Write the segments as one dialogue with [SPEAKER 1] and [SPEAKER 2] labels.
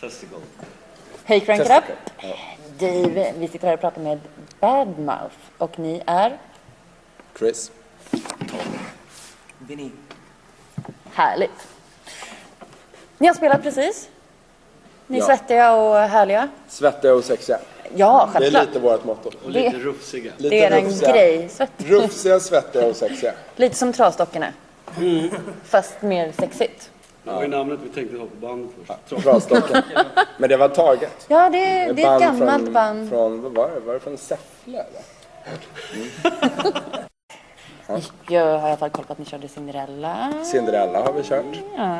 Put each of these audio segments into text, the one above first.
[SPEAKER 1] Testicle.
[SPEAKER 2] Hej Crank It Up!
[SPEAKER 3] Testicle. Ja.
[SPEAKER 2] Dave, vi sitter här och pratar med Badmouth och ni är
[SPEAKER 3] Chris.
[SPEAKER 4] Vinny.
[SPEAKER 2] härligt. Ni har spelat precis. Ni är
[SPEAKER 3] Ja.
[SPEAKER 2] svettiga och härliga.
[SPEAKER 3] Svettiga och sexiga.
[SPEAKER 2] Ja,
[SPEAKER 3] Det är
[SPEAKER 2] självklart.
[SPEAKER 3] lite vårt motto.
[SPEAKER 1] Och
[SPEAKER 2] Det-
[SPEAKER 1] lite rufsiga.
[SPEAKER 3] Lite
[SPEAKER 2] Det är en
[SPEAKER 3] rufsiga.
[SPEAKER 2] grej. Svett.
[SPEAKER 3] Rufsiga, svettiga och sexiga.
[SPEAKER 2] Lite som trasdockorna.
[SPEAKER 3] Mm.
[SPEAKER 2] Fast mer sexigt.
[SPEAKER 1] Det var ju namnet vi tänkte ha på bandet först. Trots
[SPEAKER 3] Trasdockan. Men det var taget.
[SPEAKER 2] Ja, det, är- det är ett
[SPEAKER 3] band
[SPEAKER 2] gammalt
[SPEAKER 3] från,
[SPEAKER 2] band.
[SPEAKER 3] Från, vad var det? Var det från Säffle eller?
[SPEAKER 2] Jag har i alla fall koll på att ni körde Cinderella.
[SPEAKER 3] Cinderella har vi kört.
[SPEAKER 2] Ja.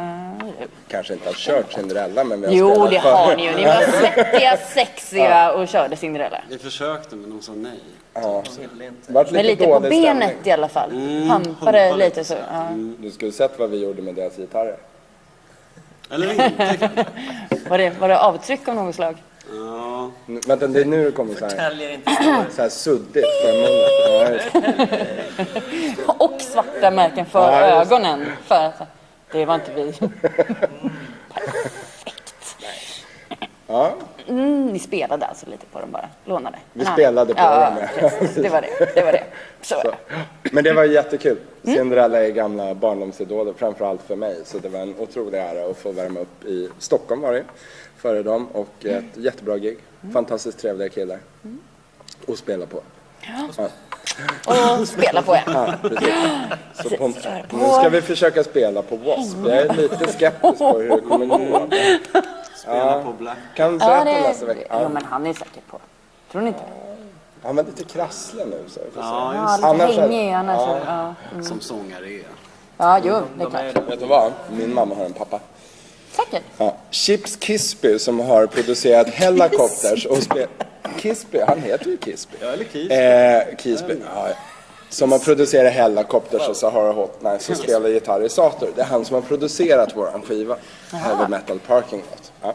[SPEAKER 3] Kanske inte har kört Cinderella men vi har
[SPEAKER 2] Jo,
[SPEAKER 3] spelat
[SPEAKER 2] det
[SPEAKER 3] för-
[SPEAKER 2] har ni ju. Ni var svettiga, sexiga och körde Cinderella.
[SPEAKER 1] Vi försökte men de sa nej.
[SPEAKER 3] Ja. Vart lite,
[SPEAKER 2] Men lite på
[SPEAKER 3] dålig
[SPEAKER 2] benet
[SPEAKER 3] stämning.
[SPEAKER 2] i alla fall.
[SPEAKER 1] Mm,
[SPEAKER 2] Hampade
[SPEAKER 1] hampade
[SPEAKER 2] lite
[SPEAKER 1] lite
[SPEAKER 2] så. Ja.
[SPEAKER 3] Du skulle sett vad vi gjorde med deras gitarrer.
[SPEAKER 1] Eller inte. kanske.
[SPEAKER 2] Var, det, var det avtryck av något slag?
[SPEAKER 1] Ja.
[SPEAKER 3] Nu, vänta, det är nu det kommer så här,
[SPEAKER 4] Täljer inte historier.
[SPEAKER 3] så här suddigt från munnen. Ja, just det.
[SPEAKER 2] Och svarta märken för
[SPEAKER 3] Ja, just det.
[SPEAKER 2] ögonen. För att det var inte vi.
[SPEAKER 3] ja,
[SPEAKER 2] Mm, ni spelade alltså lite på dem bara. Lånade.
[SPEAKER 3] vi
[SPEAKER 2] Nej.
[SPEAKER 3] spelade på
[SPEAKER 2] ja,
[SPEAKER 3] dem. ja.
[SPEAKER 2] precis. Det var det. Det var det. Så. var det.
[SPEAKER 3] Men det var jättekul.
[SPEAKER 2] Mm.
[SPEAKER 3] Cinderella är gamla barndomsidoler, framförallt för mig. Så det var en otrolig ära att få värma upp i Stockholm var det ju, före dem. Och
[SPEAKER 2] Mm.
[SPEAKER 3] ett jättebra gig. Fantastiskt trevliga killar. Och spela på.
[SPEAKER 2] Och spela på en.
[SPEAKER 3] Ja, precis. Så på,
[SPEAKER 2] Spela på.
[SPEAKER 3] nu ska vi försöka spela på W.A.S.P. Jag är lite skeptisk på hur det kommer gå.
[SPEAKER 1] Spela på Black.
[SPEAKER 3] Kan
[SPEAKER 2] Ja,
[SPEAKER 3] Zlatan
[SPEAKER 2] det,
[SPEAKER 3] nästa vecka?
[SPEAKER 2] jo,
[SPEAKER 3] Ja.
[SPEAKER 2] men han är säkert på. Tror ni inte?
[SPEAKER 3] Han var lite krasslig nu så vi får se.
[SPEAKER 1] Ja,
[SPEAKER 2] Ja,
[SPEAKER 3] Annars
[SPEAKER 2] lite
[SPEAKER 3] är-
[SPEAKER 2] hängig annars. Ja, ja.
[SPEAKER 1] just Som sångare är.
[SPEAKER 2] ja jo, det är klart.
[SPEAKER 3] Vet du vad? Min mamma har en pappa.
[SPEAKER 2] Säkert.
[SPEAKER 3] Ja. Chips Kisby som har producerat Hellacopters och spelat... Kisby, han heter ju Kisby.
[SPEAKER 1] Ja, eller Keys.
[SPEAKER 3] Eh, Kisby, ja. ja. Som har producerat Hellacopters och Sahara Hot Nights och spelar gitarr i Sator. Det är han som har producerat våran skiva, Heavy Metal Parking Lot. Ja.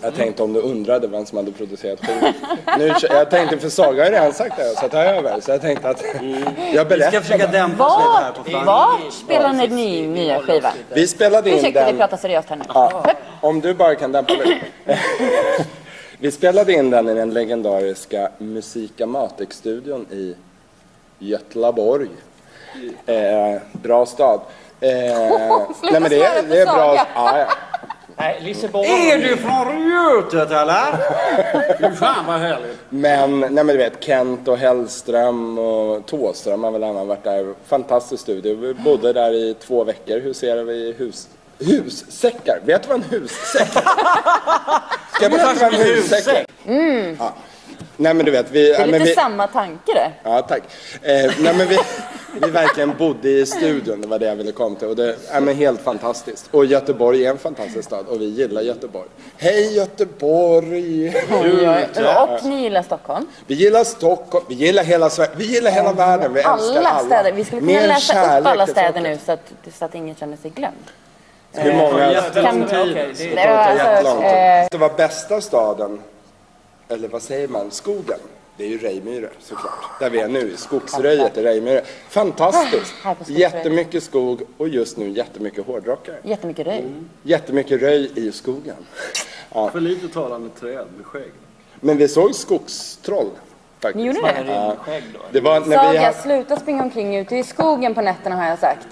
[SPEAKER 3] Jag tänkte om du undrade vem som hade producerat skivan. Nu, kö- jag tänkte, för Saga har ju redan sagt det här, så jag tar över. Så jag tänkte att jag
[SPEAKER 1] Mm. Vi ska
[SPEAKER 3] berättar.
[SPEAKER 1] försöka dämpa oss lite här på
[SPEAKER 2] Vart,
[SPEAKER 1] flanken.
[SPEAKER 2] vart spelar ni din nya skiva?
[SPEAKER 3] Vi spelade in
[SPEAKER 2] Ursäkta, vi
[SPEAKER 3] den...
[SPEAKER 2] pratar seriöst här nu.
[SPEAKER 3] Ja, om du bara kan dämpa dig. Vi spelade in den i den legendariska Musikamatic-studion i Göteborg. Eh, bra stad. Eh, nej men det,
[SPEAKER 2] svära
[SPEAKER 3] är-
[SPEAKER 2] på
[SPEAKER 3] det är bra.
[SPEAKER 2] Saga.
[SPEAKER 3] Ja, ja.
[SPEAKER 5] Nej, Liseberg.
[SPEAKER 1] Är du från Rjutet eller? Fy fan vad härligt.
[SPEAKER 3] Men, nej men du vet, Kent och Hellström och Tåström har väl annan varit där. Fantastisk studio. Vi bodde där i två veckor. Huserade vi i hus... Hussäckar! Vet du vad en hussäck är? Ska jag berätta vad en hussäck är? Ja. Nej men du vet, vi...
[SPEAKER 2] Det Mm. är
[SPEAKER 3] ja, men
[SPEAKER 2] lite
[SPEAKER 3] vi
[SPEAKER 2] samma tanke det.
[SPEAKER 3] ja, tack. Eh, nej men vi, vi verkligen bodde i studion, det var det jag ville komma till. Och det är men helt fantastiskt. Och Göteborg är en fantastisk stad och vi gillar Göteborg. Hej Göteborg!
[SPEAKER 2] Oj, oj, oj. Och ni gillar Stockholm.
[SPEAKER 3] Vi gillar Stockholm, vi gillar hela Sverige, vi gillar hela världen, vi älskar
[SPEAKER 2] Eh, Alla
[SPEAKER 3] alla.
[SPEAKER 2] städer. Vi skulle kunna
[SPEAKER 3] Mer
[SPEAKER 2] läsa upp
[SPEAKER 3] kärlek
[SPEAKER 2] alla
[SPEAKER 3] till
[SPEAKER 2] städer
[SPEAKER 3] folket.
[SPEAKER 2] nu så att, så att ingen känner sig glömd.
[SPEAKER 3] Hur många... Alltså,
[SPEAKER 2] Kan-
[SPEAKER 1] Jättelång tid.
[SPEAKER 5] Okej, det
[SPEAKER 2] Det
[SPEAKER 5] är
[SPEAKER 2] var alltså,
[SPEAKER 3] Jättelångt.
[SPEAKER 2] eh,
[SPEAKER 3] Det var bästa staden, eller vad säger man, skogen. Det är ju Rejmyre såklart. Där vi är nu, i skogsröjet i Rejmyre. Fantastiskt!
[SPEAKER 2] Ah, Här på Skogsröjet.
[SPEAKER 3] Jättemycket skog och just nu jättemycket hårdrockare.
[SPEAKER 2] jättemycket röj.
[SPEAKER 3] Jättemycket röj i skogen. Ja.
[SPEAKER 1] För lite talande träd med skägg.
[SPEAKER 3] Men vi såg skogstroll
[SPEAKER 2] Ni
[SPEAKER 3] faktiskt.
[SPEAKER 2] gjorde det?
[SPEAKER 5] rymdskägg då.
[SPEAKER 3] Det var när vi
[SPEAKER 2] Saga,
[SPEAKER 3] hade...
[SPEAKER 2] sluta springa omkring ute i skogen på nätterna har jag sagt.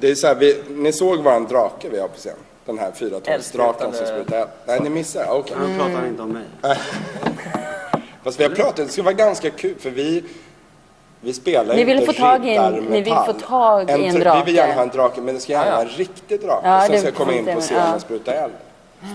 [SPEAKER 3] Det är så här, vi, ni såg våran drake vi har på scen? Den här fyratumsdraken som
[SPEAKER 5] Eldslutande-
[SPEAKER 3] sprutar eld. Nej, ni missade. Okej.
[SPEAKER 1] Han pratar inte om mig.
[SPEAKER 3] Fast vi har pratat, det skulle vara ganska kul för vi, vi spelar
[SPEAKER 2] Ni vill
[SPEAKER 3] inte
[SPEAKER 2] få tag i en- ni vill få tag i en
[SPEAKER 3] drake. Vi
[SPEAKER 2] drake.
[SPEAKER 3] vill gärna ha en drake, men det ska gärna vara en riktig drake
[SPEAKER 2] Ja, det
[SPEAKER 3] som ska komma in
[SPEAKER 2] tänkte
[SPEAKER 3] på
[SPEAKER 2] jag,
[SPEAKER 3] scenen
[SPEAKER 2] ja.
[SPEAKER 3] och spruta eld.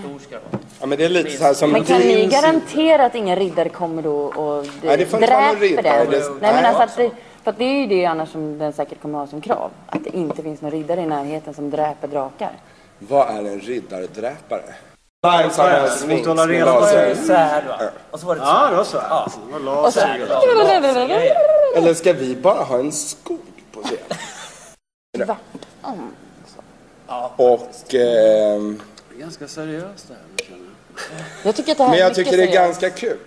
[SPEAKER 5] Stor ska den vara.
[SPEAKER 3] Ja, men det är lite så här som
[SPEAKER 2] Men kan ni
[SPEAKER 3] Dreams-
[SPEAKER 2] garantera att inga riddare kommer då och d-
[SPEAKER 3] Nej, det får inte vara någon
[SPEAKER 2] dräper
[SPEAKER 3] riddare.
[SPEAKER 2] den?
[SPEAKER 3] Det-
[SPEAKER 2] Nej, men
[SPEAKER 3] nej.
[SPEAKER 2] alltså att det, för att det är ju det annars som den säkert kommer ha som krav. Att det inte finns någon riddare i närheten som dräper drakar.
[SPEAKER 3] Vad är en riddardräpare?
[SPEAKER 1] Lives are as
[SPEAKER 3] Sphinx
[SPEAKER 1] måste hålla
[SPEAKER 3] med
[SPEAKER 1] reda
[SPEAKER 5] Och
[SPEAKER 1] på
[SPEAKER 5] så
[SPEAKER 3] laser.
[SPEAKER 5] var det svärd va? Och så var det ett
[SPEAKER 1] Ja, det var så. här. Det var
[SPEAKER 2] Och så...
[SPEAKER 1] laser.
[SPEAKER 3] Eller ska vi bara ha en skog på scen?
[SPEAKER 2] Tvärtom.
[SPEAKER 3] Och... ehm,
[SPEAKER 1] Det är Ganska seriöst det här. känner jag.
[SPEAKER 2] Jag tycker att det här
[SPEAKER 3] Men
[SPEAKER 2] är
[SPEAKER 3] jag
[SPEAKER 2] mycket
[SPEAKER 3] tycker det är
[SPEAKER 2] seriöst.
[SPEAKER 3] ganska kul.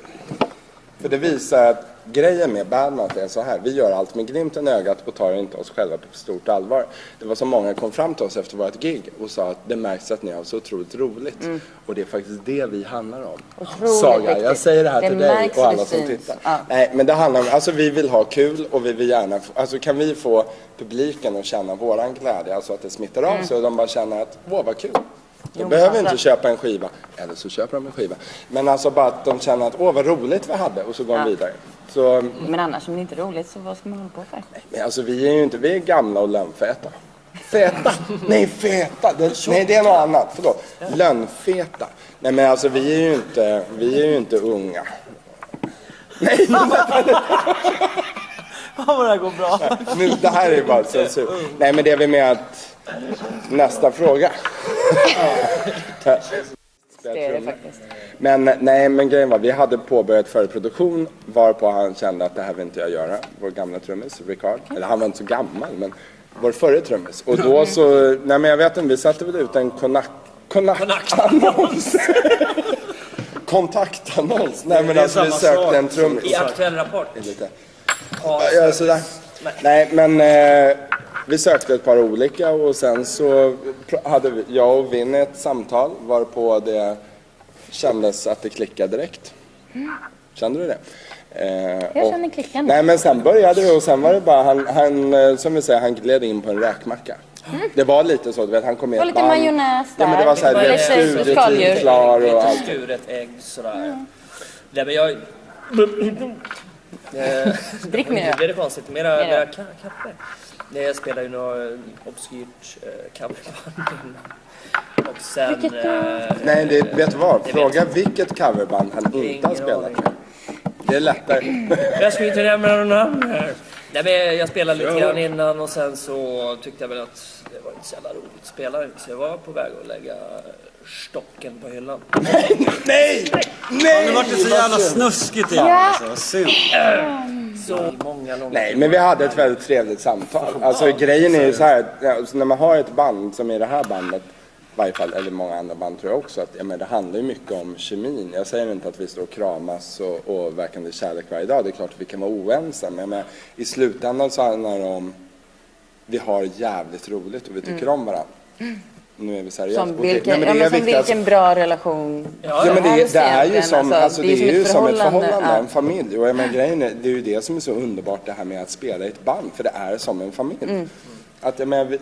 [SPEAKER 3] För det visar att Grejen med Badmouth är så här, vi gör allt med glimten i ögat och tar inte oss själva på stort allvar. Det var så många kom fram till oss efter vårt gig och sa att det märks att ni har så otroligt roligt. Och det är faktiskt det vi handlar om.
[SPEAKER 2] Mm. Otroligt
[SPEAKER 3] Saga, jag
[SPEAKER 2] viktigt.
[SPEAKER 3] säger det här
[SPEAKER 2] Det
[SPEAKER 3] till dig
[SPEAKER 2] märks
[SPEAKER 3] och
[SPEAKER 2] och
[SPEAKER 3] alla
[SPEAKER 2] det
[SPEAKER 3] som
[SPEAKER 2] syns.
[SPEAKER 3] tittar.
[SPEAKER 2] Ja.
[SPEAKER 3] Nej, men det handlar om, alltså vi vill ha kul och vi vill gärna, få- alltså kan vi få publiken att känna våran glädje, alltså att det smittar av sig och de bara känner att, åh vad kul. De
[SPEAKER 2] Mm. Jo,
[SPEAKER 3] behöver
[SPEAKER 2] framförallt-
[SPEAKER 3] inte köpa en skiva, eller så köper de en skiva. Men alltså bara att de känner att, åh vad roligt vi hade och så går de
[SPEAKER 2] Ja.
[SPEAKER 3] vidare. Så,
[SPEAKER 2] Men annars om det inte är roligt så vad ska man hålla på för?
[SPEAKER 3] men alltså vi är ju inte, vi är gamla och lönnfeta. Feta! Nej, feta! Det, nej, det är något annat. Förlåt. Lönnfeta. Nej, men alltså vi är ju inte, vi är ju inte unga.
[SPEAKER 5] Fan vad det här går bra.
[SPEAKER 3] Nu, det här är ju bara censur. Nej, men det är väl med att... Nästa fråga.
[SPEAKER 2] Det är det faktiskt.
[SPEAKER 3] Men nej, men grejen var, vi hade påbörjat förproduktion varpå han kände att det här vill inte jag göra. Vår gamla trummis, Ricard. Eller han var inte så gammal, men vår förre trummis. Och då så, nej men jag vet inte, vi satte väl ut en konak... Konakt-annons. Kontaktannons. Nej men
[SPEAKER 1] Det är
[SPEAKER 3] alltså vi
[SPEAKER 1] samma
[SPEAKER 3] sökte
[SPEAKER 1] sak
[SPEAKER 3] en
[SPEAKER 1] som-
[SPEAKER 3] trummis.
[SPEAKER 5] I Aktuell Rapport.
[SPEAKER 3] Lite.
[SPEAKER 5] Ja,
[SPEAKER 3] Ja, sådär. Nej, men eh, vi sökte ett par olika och sen så pr- hade vi, jag och Vinny ett samtal varpå det kändes att det klickade direkt. Kände du det? Eh,
[SPEAKER 2] Jag
[SPEAKER 3] och-
[SPEAKER 2] känner klicken.
[SPEAKER 3] Nej men sen började det och sen var det bara han, han eh, som vi säger, han gled in på en räkmacka. Det var lite så, du vet han kom med
[SPEAKER 2] Och
[SPEAKER 3] ett
[SPEAKER 2] lite
[SPEAKER 3] band.
[SPEAKER 2] majonnäs
[SPEAKER 3] Ja men det
[SPEAKER 2] där.
[SPEAKER 3] var såhär,
[SPEAKER 2] Mm. Det
[SPEAKER 3] du
[SPEAKER 2] var
[SPEAKER 3] vet
[SPEAKER 2] lite
[SPEAKER 3] studiotid
[SPEAKER 2] skaldjur.
[SPEAKER 3] klar och allt.
[SPEAKER 5] Skuret ägg sådär. Nej men jag...
[SPEAKER 2] Drick
[SPEAKER 5] Nu blir
[SPEAKER 2] mer.
[SPEAKER 5] det konstigt. Mera,
[SPEAKER 2] Mera.
[SPEAKER 5] mera ka- kaffe. Nej, jag spelar ju något eh, obskyrt eh, coverband innan. Och sen...
[SPEAKER 2] Vilket då?
[SPEAKER 5] eh,
[SPEAKER 3] Nej, det, vet du vad?
[SPEAKER 5] vet
[SPEAKER 3] Fråga vilket coverband han inte har
[SPEAKER 5] Ingen
[SPEAKER 3] spelat
[SPEAKER 5] aning.
[SPEAKER 3] med. Det är lättare.
[SPEAKER 5] Jag ska ju inte nämna några namn här. Nej, men jag spelade lite grann innan och sen så tyckte jag väl att det var inte så jävla roligt att spela. Så jag var på väg att lägga stocken på hyllan.
[SPEAKER 3] Nej! Nej!
[SPEAKER 1] Nu vart det så jävla snuskigt igen alltså. Vad Synd.
[SPEAKER 5] Så många långa...
[SPEAKER 3] Nej, men vi hade ett väldigt trevligt samtal. Alltså grejen är ju så här, att, ja, alltså, när man har ett band som i det här bandet, i varje fall, eller många andra band tror jag också, att ja, men det handlar ju mycket om kemin. Jag säger inte att vi står och kramas och, och verkande kärlek varje dag. Det är klart att vi kan vara oense, men jag menar, i slutändan så handlar det om vi har jävligt roligt och vi tycker om varandra. Nu är vi seriösa.
[SPEAKER 2] Mm. Som
[SPEAKER 3] på det.
[SPEAKER 2] vilken,
[SPEAKER 3] Nej,
[SPEAKER 2] ja,
[SPEAKER 3] men det
[SPEAKER 2] men
[SPEAKER 3] är
[SPEAKER 2] som
[SPEAKER 3] viktigt, alltså.
[SPEAKER 2] vilken bra relation.
[SPEAKER 5] Ja,
[SPEAKER 3] Ja, men det, det är ju
[SPEAKER 2] egentligen,
[SPEAKER 3] som,
[SPEAKER 2] alltså,
[SPEAKER 3] alltså, det är ju som ett förhållande, en
[SPEAKER 2] ja.
[SPEAKER 3] familj. Och jag menar, grejen är, det är ju det som är så underbart det här med att spela i ett band, för det är som en familj. Att jag menar, vi-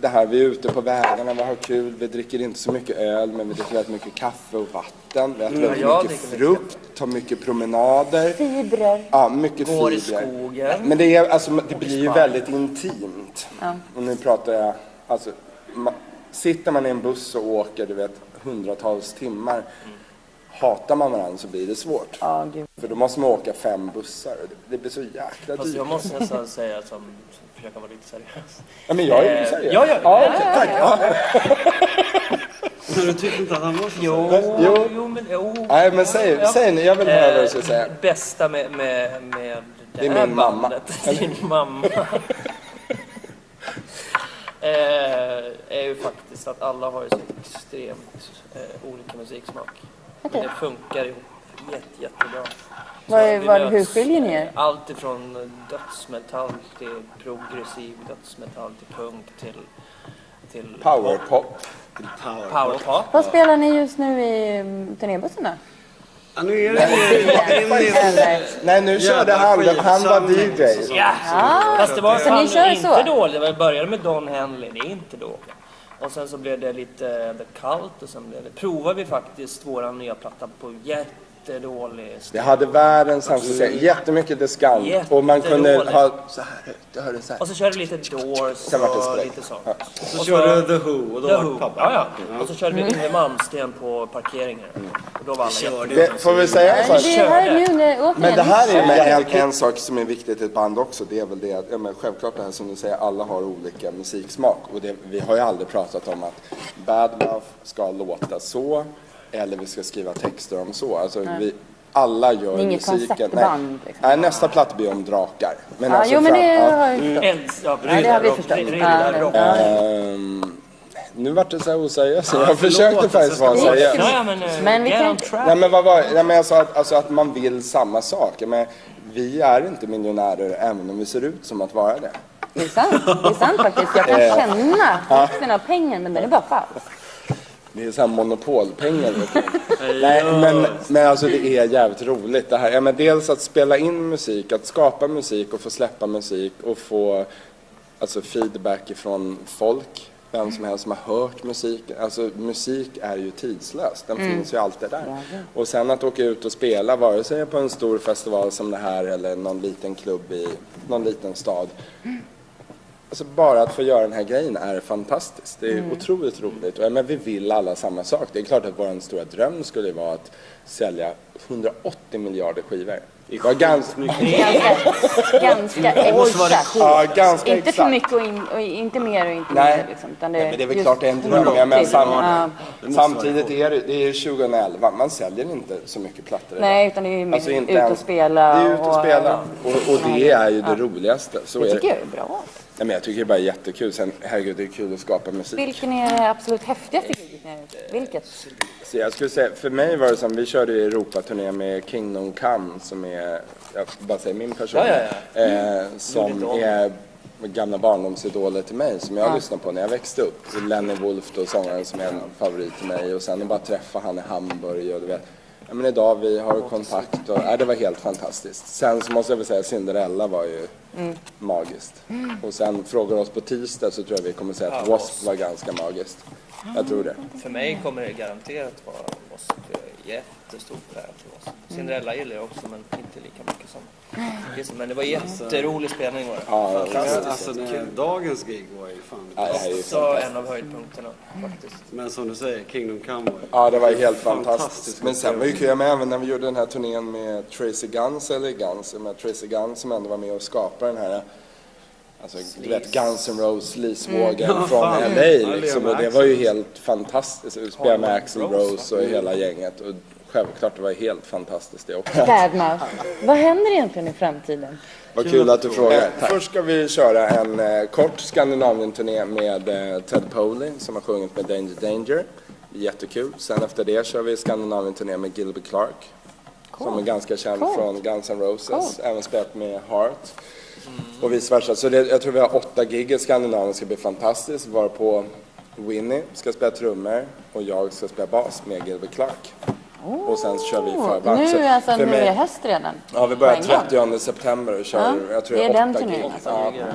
[SPEAKER 3] det här, vi är ute på vägarna, vi har kul, vi dricker inte så mycket öl, men vi dricker väldigt mycket kaffe och vatten, vi äter väldigt
[SPEAKER 5] jag
[SPEAKER 3] mycket
[SPEAKER 5] dricker mycket
[SPEAKER 3] frukt, tar mycket promenader.
[SPEAKER 2] Fibrer.
[SPEAKER 3] Ja, mycket
[SPEAKER 5] Går i
[SPEAKER 3] fibrer.
[SPEAKER 5] skogen.
[SPEAKER 3] Men det, är, alltså, det blir ju väldigt intimt.
[SPEAKER 2] Ja.
[SPEAKER 3] Och nu pratar jag, alltså, ma- sitter man i en buss och åker, du vet, hundratals timmar. Hatar man varandra så blir det svårt.
[SPEAKER 2] Ja, gud.
[SPEAKER 3] För då måste man åka fem bussar och det, det blir så jäkla
[SPEAKER 5] Fast
[SPEAKER 3] dyrt.
[SPEAKER 5] jag måste nästan säga att som försöka vara lite seriös.
[SPEAKER 3] Ja, men jag är ju
[SPEAKER 5] Eh,
[SPEAKER 3] seriös.
[SPEAKER 5] ja, ja.
[SPEAKER 3] okej, tack. Ja.
[SPEAKER 1] Men Du tyckte inte att han var så
[SPEAKER 5] Jo,
[SPEAKER 3] Jo.
[SPEAKER 5] jo, men... Jo.
[SPEAKER 3] Nej, men säg,
[SPEAKER 5] Ja.
[SPEAKER 3] säg nu, jag vill höra vad du ska
[SPEAKER 5] Eh,
[SPEAKER 3] säga.
[SPEAKER 5] bästa med, med, med det,
[SPEAKER 3] Det är
[SPEAKER 5] här
[SPEAKER 3] min mamma.
[SPEAKER 5] bandet, din mamma, eh, är ju faktiskt att alla har ju så extremt eh, olika musiksmak.
[SPEAKER 2] Okej.
[SPEAKER 5] Men det funkar ihop jätte, jättebra.
[SPEAKER 2] Vad är-
[SPEAKER 5] vi
[SPEAKER 2] vad-
[SPEAKER 5] möts,
[SPEAKER 2] hur skiljer ni er?
[SPEAKER 5] eh, Allt ifrån dödsmetall till progressiv dödsmetall till punk till, till
[SPEAKER 3] Powerpop.
[SPEAKER 1] power.
[SPEAKER 5] powerpop.
[SPEAKER 2] Vad spelar ni just nu i mm, turnébussen då?
[SPEAKER 1] Ja, nu är det ju...
[SPEAKER 2] Eller-
[SPEAKER 3] Nej, nu körde han, han var
[SPEAKER 1] skitsamling.
[SPEAKER 3] DJ.
[SPEAKER 5] Ja, fast det var
[SPEAKER 2] Ah. Så ni kör
[SPEAKER 5] fan inte
[SPEAKER 2] så?
[SPEAKER 5] dåligt. Vi började med Don Henley, det är inte dåligt. Och sen så blev det lite eh, The Cult och sen blev det... Provade vi faktiskt våran nya platta på jättedålig...
[SPEAKER 3] Det hade världens sämsta mm. jättemycket diskant och man kunde ha så här ut, det hördes så här.
[SPEAKER 5] Och så körde vi lite Doors
[SPEAKER 3] Sen vart det
[SPEAKER 5] och
[SPEAKER 3] spräng.
[SPEAKER 5] lite sånt.
[SPEAKER 3] Ja.
[SPEAKER 1] Så körde The Who och då
[SPEAKER 5] The
[SPEAKER 1] var
[SPEAKER 5] Who.
[SPEAKER 1] det
[SPEAKER 5] Ja,
[SPEAKER 1] pappa.
[SPEAKER 5] ja. Och så körde vi Yngwie Malmsteen på parkeringen. Och då var alla jätte...
[SPEAKER 1] Körde
[SPEAKER 3] Det, får vi säga en
[SPEAKER 2] Men
[SPEAKER 3] sak?
[SPEAKER 2] Det här är nu när, återigen,
[SPEAKER 3] Men det här är
[SPEAKER 2] ni
[SPEAKER 3] med
[SPEAKER 2] kör.
[SPEAKER 3] en, en sak som är viktigt i ett band också. Det är väl det att, ja, men självklart det här som du säger, alla har olika musiksmak. Och det, vi har ju aldrig pratat om att Badmouth ska låta så eller vi ska skriva texter om så. Alltså, vi, alla gör
[SPEAKER 2] Det är inget
[SPEAKER 3] musiken.
[SPEAKER 2] konceptband, liksom.
[SPEAKER 3] nej, nästa platta blir om drakar. Men alltså
[SPEAKER 2] Ja, jo men
[SPEAKER 3] fram-
[SPEAKER 2] det
[SPEAKER 3] ja.
[SPEAKER 2] har jag ju
[SPEAKER 5] Ens, ja,
[SPEAKER 2] Ja, det har vi
[SPEAKER 5] Brydar-
[SPEAKER 2] förstått.
[SPEAKER 5] Brydar-
[SPEAKER 2] Ja, det-
[SPEAKER 5] Rock.
[SPEAKER 2] ja.
[SPEAKER 3] Ehm, nu vart det så här oseriöst. Jag
[SPEAKER 1] förlåt,
[SPEAKER 3] försökte faktiskt
[SPEAKER 1] alltså,
[SPEAKER 3] vara
[SPEAKER 1] jag
[SPEAKER 3] seriös.
[SPEAKER 5] Ja, ja, men... eh,
[SPEAKER 2] Men vi
[SPEAKER 5] get
[SPEAKER 2] kan
[SPEAKER 5] on
[SPEAKER 2] inte-
[SPEAKER 5] track.
[SPEAKER 3] Nej men vad var Nej, men jag sa att, alltså, att man vill samma sak. Men vi är inte miljonärer även om vi ser ut som att vara det.
[SPEAKER 2] Det är sant, det är sant faktiskt. Jag kan känna vikten av pengen, men den är bara falsk.
[SPEAKER 3] Det är så här monopolpengar. vet du. Nej, men, men alltså det är jävligt roligt det här. Ja, men dels att spela in musik, att skapa musik och få släppa musik och få alltså, feedback ifrån folk. Vem som helst som har hört musik. Alltså musik är ju tidslös. Den finns ju alltid där. Och sen att åka ut och spela, vare sig på en stor festival som det här eller någon liten klubb i någon liten stad. Alltså bara att få göra den här grejen är fantastiskt. Det är
[SPEAKER 2] Mm.
[SPEAKER 3] otroligt roligt. Och, ja, men vi vill alla samma sak. Det är klart att vår stora dröm skulle vara att sälja 180 miljarder skivor. Det var ganska,
[SPEAKER 2] Ganska, ganska exakt.
[SPEAKER 3] ja, ganska
[SPEAKER 2] Inte för
[SPEAKER 3] exakt.
[SPEAKER 2] mycket och, in, och inte mer och inte
[SPEAKER 3] Nej.
[SPEAKER 2] mindre. Liksom, utan det,
[SPEAKER 3] Nej, men det är väl
[SPEAKER 2] just
[SPEAKER 3] klart det är en dröm. Jag menar,
[SPEAKER 2] någonting.
[SPEAKER 3] sam-
[SPEAKER 2] Ja.
[SPEAKER 3] samtidigt är det, det är 2011. Man säljer inte så mycket plattor idag.
[SPEAKER 2] Nej, utan det är ju mer
[SPEAKER 3] Alltså, inte
[SPEAKER 2] ut och
[SPEAKER 3] ens-
[SPEAKER 2] spela
[SPEAKER 3] Det är ut och
[SPEAKER 2] och-
[SPEAKER 3] spela. Och, och det är ju det roligaste. Så
[SPEAKER 2] Det
[SPEAKER 3] är
[SPEAKER 2] tycker
[SPEAKER 3] det.
[SPEAKER 2] jag är bra.
[SPEAKER 3] Nej, men jag tycker det är bara jättekul. Sen, herregud, det är kul att skapa musik.
[SPEAKER 2] Vilken är det absolut häftigaste giget ni har gjort? Vilket?
[SPEAKER 3] Så jag skulle säga, för mig var det som, vi körde ju Europaturné med Kingdom Come som är, jag bara säger min person,
[SPEAKER 5] Ja, Mm. ja,
[SPEAKER 3] Eh, som är gamla barndomsidoler till mig som jag lyssnade på när jag växte upp. Så Lenny Wolf då, sångaren som är en favorit till mig och sen att bara träffa han i Hamburg och du vet. Ja, men idag vi har kontakt och ja, det var helt fantastiskt. Sen så måste jag väl säga Cinderella var ju magiskt. Och sen frågar du oss på tisdag så tror jag vi kommer säga att W.A.S.P. var ganska magiskt. Jag tror det.
[SPEAKER 5] För mig kommer det garanterat vara eh, oss. Jättestor ära till oss.
[SPEAKER 3] Mm.
[SPEAKER 5] Cinderella gillar jag också men inte lika mycket som Kiss. Men det var jätterolig spelning var det.
[SPEAKER 3] Alltså, Ja,
[SPEAKER 1] Klassiskt. Alltså, den här dagens gig var ju fan det
[SPEAKER 3] Ja, det
[SPEAKER 1] bästa.
[SPEAKER 3] här är ju Mm.
[SPEAKER 5] Så en av höjdpunkterna faktiskt.
[SPEAKER 1] Men som du säger, Kingdom Come var ju...
[SPEAKER 3] Ja, det var ju helt
[SPEAKER 1] Fantastisk
[SPEAKER 3] fantastiskt. Men sen var ju kul, jag med även när vi gjorde den här turnén med Tracy Guns, eller Guns, med Tracy Guns som ändå var med och skapade den här Alltså, du vet Guns N' Roses leasevågen från
[SPEAKER 1] fan.
[SPEAKER 3] LA
[SPEAKER 1] Mm. Ja,
[SPEAKER 3] liksom.
[SPEAKER 1] Leo
[SPEAKER 3] Och det
[SPEAKER 1] Max.
[SPEAKER 3] var ju helt fantastiskt. Vi spelade med
[SPEAKER 5] Ja,
[SPEAKER 3] Axl
[SPEAKER 5] Rose,
[SPEAKER 3] Rose och hela gänget. Och självklart, det var helt fantastiskt det också.
[SPEAKER 2] Badmouth. Vad händer egentligen i framtiden?
[SPEAKER 3] Vad kul att du frågar. Först ska vi köra en eh, kort Skandinavien-turné med eh, Ted Poley som har sjungit med Danger Danger. Jättekul. Sen efter det kör vi Skandinavien-turné med Gilbert Clark. Som är ganska känd
[SPEAKER 2] Coolt.
[SPEAKER 3] från Guns N' Roses.
[SPEAKER 2] Coolt.
[SPEAKER 3] Även spelat med Heart. Och vice versa. Så det, jag tror vi har åtta gig i Skandinavien. ska bli fantastiskt. Varpå Winnie ska spela trummor och jag ska spela bas med Gilbert Clark. Och sen kör vi förband.
[SPEAKER 2] nu
[SPEAKER 3] Så
[SPEAKER 2] är alltså
[SPEAKER 3] för
[SPEAKER 2] nu
[SPEAKER 3] mig-
[SPEAKER 2] är höst redan.
[SPEAKER 3] Ja, vi
[SPEAKER 2] På
[SPEAKER 3] börjar
[SPEAKER 2] en gång.
[SPEAKER 3] 30 september och kör,
[SPEAKER 2] Ja,
[SPEAKER 3] jag tror
[SPEAKER 2] det
[SPEAKER 3] det
[SPEAKER 2] är
[SPEAKER 3] är
[SPEAKER 2] den
[SPEAKER 3] åtta
[SPEAKER 2] turnén
[SPEAKER 3] gig.
[SPEAKER 2] alltså.
[SPEAKER 3] Ja.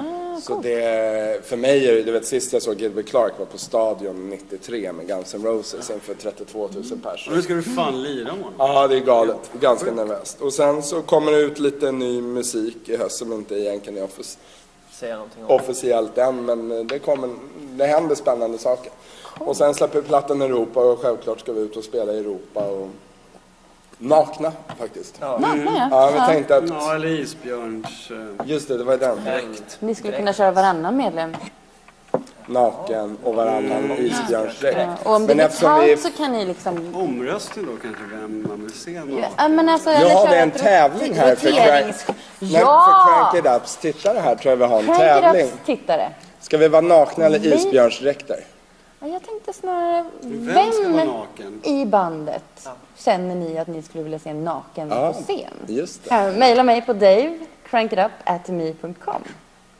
[SPEAKER 3] Så det, för mig är det, du vet sist jag såg Gilbert Clark var på Stadion 93 med Guns N' Roses inför 32 000
[SPEAKER 1] Och
[SPEAKER 3] personer.
[SPEAKER 1] nu ska du fan lira imorgon.
[SPEAKER 3] Ja, det är galet. Ganska nervöst. Och sen så kommer det ut lite ny musik i höst som inte egentligen är offic-
[SPEAKER 5] Säga någonting om.
[SPEAKER 3] officiellt än, men det, kommer, det händer spännande saker. Och sen släpper vi plattan i Europa och självklart ska vi ut och spela i Europa och nakna faktiskt. Ja,
[SPEAKER 2] Nakna ja.
[SPEAKER 3] ja vi tänkte att
[SPEAKER 1] Ja, eller Isbjörns... eh,
[SPEAKER 3] Just det, det var den.
[SPEAKER 5] Direkt.
[SPEAKER 2] Ni skulle kunna köra varannan medlem.
[SPEAKER 3] Naken och varannan isbjörnsdräkt.
[SPEAKER 2] Och om det
[SPEAKER 3] Men
[SPEAKER 2] blir
[SPEAKER 3] eftersom vi...
[SPEAKER 2] kallt så kan ni liksom...
[SPEAKER 1] Omröstning då kanske, vem man vill se naken.
[SPEAKER 2] Ja, men alltså,
[SPEAKER 3] Jag
[SPEAKER 2] eller
[SPEAKER 3] har
[SPEAKER 2] köra
[SPEAKER 3] en
[SPEAKER 2] ett
[SPEAKER 3] tävling här för,
[SPEAKER 2] roterings-
[SPEAKER 3] crank, nej, för
[SPEAKER 2] Ja!
[SPEAKER 3] Crank It Ups tittare här tror jag vi har en
[SPEAKER 2] Crank
[SPEAKER 3] tävling.
[SPEAKER 2] it ups tittare.
[SPEAKER 3] Ska vi vara nakna eller
[SPEAKER 2] Nej.
[SPEAKER 3] isbjörnsdräkter?
[SPEAKER 2] Ja, Jag tänkte snarare,
[SPEAKER 1] Vem ska vara
[SPEAKER 2] vem
[SPEAKER 1] naken?
[SPEAKER 2] i bandet känner ni att ni skulle vilja se naken
[SPEAKER 3] Ja,
[SPEAKER 2] på scen?
[SPEAKER 3] Just det.
[SPEAKER 2] Eh, Maila mig på dave, crankitup.me.com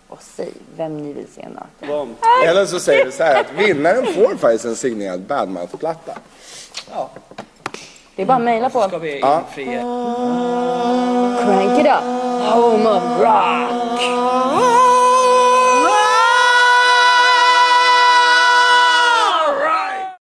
[SPEAKER 2] och säg vem ni vill se naken.
[SPEAKER 1] Bom.
[SPEAKER 3] Eller så säger vi så här att vinnaren får faktiskt en signerad Badmouth-platta.
[SPEAKER 5] Ja,
[SPEAKER 2] Det är bara att mejla på
[SPEAKER 5] ska vi infria.
[SPEAKER 2] crankitup, home of rock.